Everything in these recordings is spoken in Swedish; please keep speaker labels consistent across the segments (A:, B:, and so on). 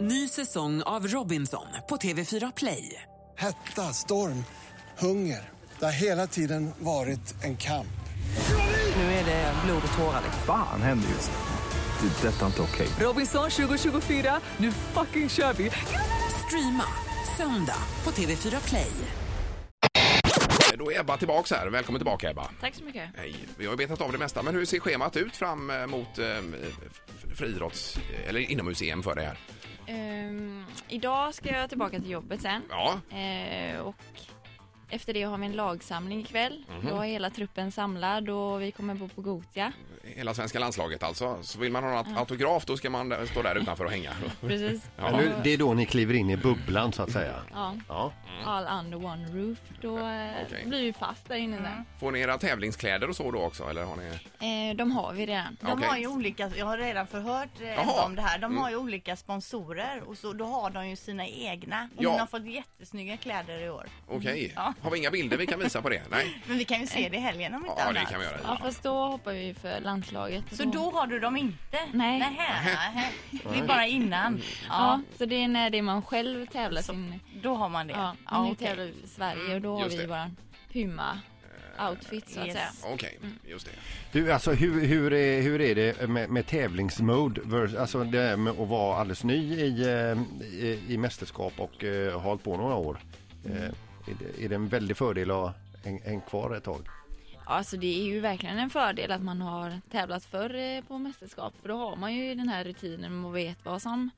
A: Ny säsong av Robinson på TV4 Play.
B: Hetta, storm, hunger. Det har hela tiden varit en kamp.
A: Nu är det blod och tårar. liksom.
C: Fan händer just nu. Det. är Detta är inte okej.
A: Robinson 2024, nu fucking kör vi! Streama söndag på TV4 Play.
D: Då är Ebba tillbaks här. Välkommen tillbaka Ebba.
E: Tack så mycket.
D: Hej. Vi har ju betat av det mesta, men hur ser schemat ut fram eh, mot eh, f- friidrotts eh, eller inomhus-EM för dig här?
E: Ehm, idag ska jag tillbaka till jobbet sen.
D: Ja,
E: Eh, och efter det har vi en lagsamling ikväll. Då är hela truppen samlad och vi kommer bo på Gotia.
D: hela svenska landslaget alltså. Så vill man ha en aut- autograf då ska man eh, stå där utanför och hänga.
E: Precis.
D: Ja.
F: Eller hur? det är då ni kliver in i bubblan så att säga.
E: Ja,
F: Ja.
E: all under one roof. Då eh,
D: Okej.
E: blir vi fast där inne sen.
D: Får ni era tävlingskläder och så då också eller har ni?
G: Mm.
E: Eh, de har vi redan.
G: De
D: Okej.
G: har ju olika, jag har redan förhört eh,
D: Jaha. Mm.
G: om det här, de har ju olika sponsorer och så, då har de ju sina egna. Och
D: Ja.
G: Hon har fått jättesnygga kläder i år.
D: Okej.
G: Ja.
D: Har vi inga bilder vi kan visa på det? Nej.
G: Men vi kan ju se det i helgen om inte
D: Ja, det
G: annat.
D: kan vi göra.
E: Ja, fast då hoppar vi för landslaget.
G: Så då har du dem inte?
E: Nej.
G: Nähä, nähä. Det är bara
D: Mm.
G: innan.
E: Ja,
G: Ja,
E: så det är när det är man själv tävlar sin...
G: då har man det.
E: Ja,
G: Ja,
E: nu
G: okej.
E: tävlar vi för Sverige och då har
D: Just
E: vi
D: det.
E: våran Puma-outfit så att
G: Yes.
E: säga.
D: Okej, just det.
F: Du, alltså, hur, hur, är, hur är det med, med tävlingsmode? vers- Alltså det här med att vara alldeles ny i, eh, i, i mästerskap och eh, ha hållit på några år. Eh, Är det, är det en väldig fördel att ha en, en kvar ett tag?
E: Ja, alltså det är ju verkligen en fördel att man har tävlat förr eh, på mästerskap. För då har man ju den här rutinen och vet vad som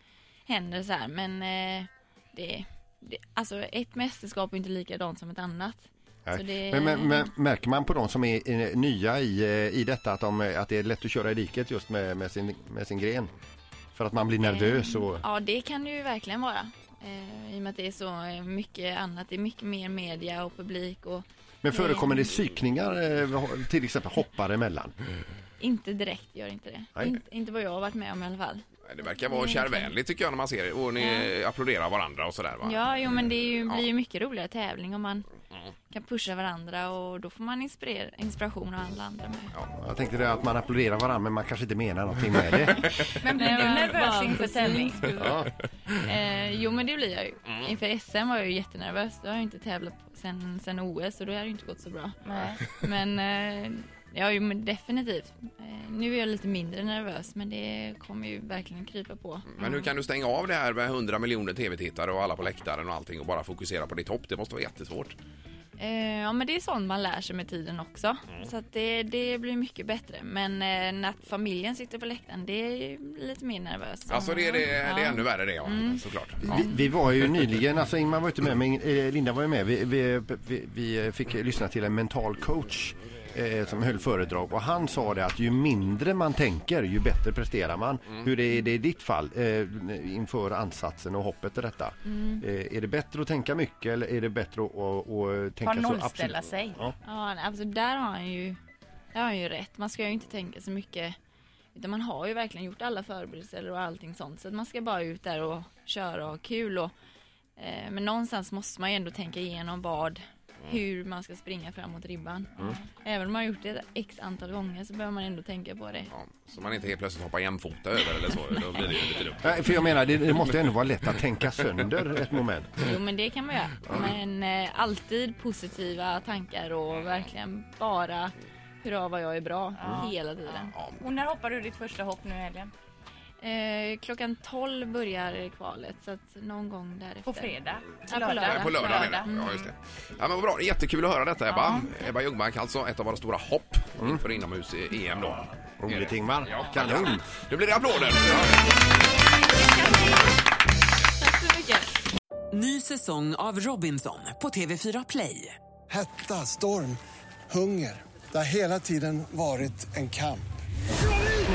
E: händer så här. Men eh, det, det, alltså ett mästerskap är inte likadant som ett annat.
F: Nej.
E: Så det-
F: Men, men, men märker man på de som är eh, nya i, eh, i detta att, de, eh, att det är lätt att köra i diket just med, med, sin, med sin gren? För att man blir nervös och...
E: Ja, det kan det ju verkligen vara. Eh, I och med att det är så eh, mycket annat. Det är mycket mer media och publik och
F: Men förekommer det psykningar, eh, till exempel hoppare emellan?
E: inte direkt gör inte det.
F: Nej.
E: Inte, inte vad jag har varit med om i alla fall.
D: Det verkar vara kärvänligt tycker jag när man ser det. Och ni applåderar varandra och sådär va?
E: Ja, jo, men det är ju,
D: Ja.
E: blir ju mycket roligare tävling om man kan pusha varandra och då får man inspirera, inspiration och alla andra med.
F: Jag tänkte det att man applåderar varandra men man kanske inte menar någonting med det.
G: Men blir du nervös inför tävling?
F: Ja.
E: Eh, jo, men det blir jag ju.
D: Mm.
E: Inför SM var jag ju jättenervös. Då har jag ju inte tävlat på- sen, sen OS och då har det ju inte gått så bra.
G: Nej.
E: Men eh, ja, jo, men definitivt. Eh, nu är jag lite mindre nervös, men det kommer ju verkligen krypa på.
D: Mm, Men hur kan du stänga av det här med 100 miljoner tv-tittare och alla på läktaren och allting och bara fokusera på ditt hopp? Det måste vara jättesvårt.
E: Eh, ja, men det är sånt man lär sig med tiden också.
D: Mm.
E: Så att det, det blir mycket bättre. Men eh, när familjen sitter på läktaren, det är ju lite mer nervöst.
D: Alltså det, är- det, är- det är
E: Ja.
D: ännu värre det ja, såklart. Ja.
F: Vi, vi var ju nyligen, alltså Ingmar var inte med men eh, Linda var ju med. Vi, vi, vi, vi fick lyssna till en mental coach eh, som höll föredrag och han sa det att ju mindre man tänker ju bättre presterar man. Hur är det i ditt fall eh, inför ansatsen och hoppet till detta? Eh, är det bättre att tänka mycket eller är det bättre att, att, att tänka
G: Bara
F: så?
G: nollställa
F: absolut-
G: sig.
F: Ja.
E: Ja, nej, alltså där har han ju, där har han ju rätt. Man ska ju inte tänka så mycket. Utan man har ju verkligen gjort alla förberedelser och allting sånt. Så att man ska bara ut där och köra och ha kul. Och, eh, men någonstans måste man ju ändå tänka igenom vad, hur man ska springa fram mot ribban. Även om man har gjort det x antal gånger så behöver man ändå tänka på det.
D: Ja, så man inte helt plötsligt hoppar jämfota över eller så. Då blir det ju lite dumt.
F: Nej, för jag menar, det, det måste ändå vara lätt att tänka sönder ett moment.
E: Jo men det kan man göra. Men eh, alltid positiva tankar och verkligen bara hurra vad jag är bra hela tiden.
G: Och när hoppar du ditt första hopp nu i helgen?
E: Eh, klockan 12 börjar kvalet så att någon gång därefter.
G: På fredag?
E: Ja, på
D: Nej,
E: lördag.
D: Eh, På lördag menar jag. Ja, just det. Ja, men vad bra. Jättekul att höra detta Ebba. Ebba Ljungmark alltså, ett av våra stora hopp inför inomhus-EM då.
F: Roligt Ingmar.
D: Ja,
F: Kanon.
D: Nu blir det applåder!
E: Tack så mycket.
A: Ny säsong av Robinson på TV4 Play.
B: Hetta, storm, hunger. Det har hela tiden varit en kamp.
H: Nu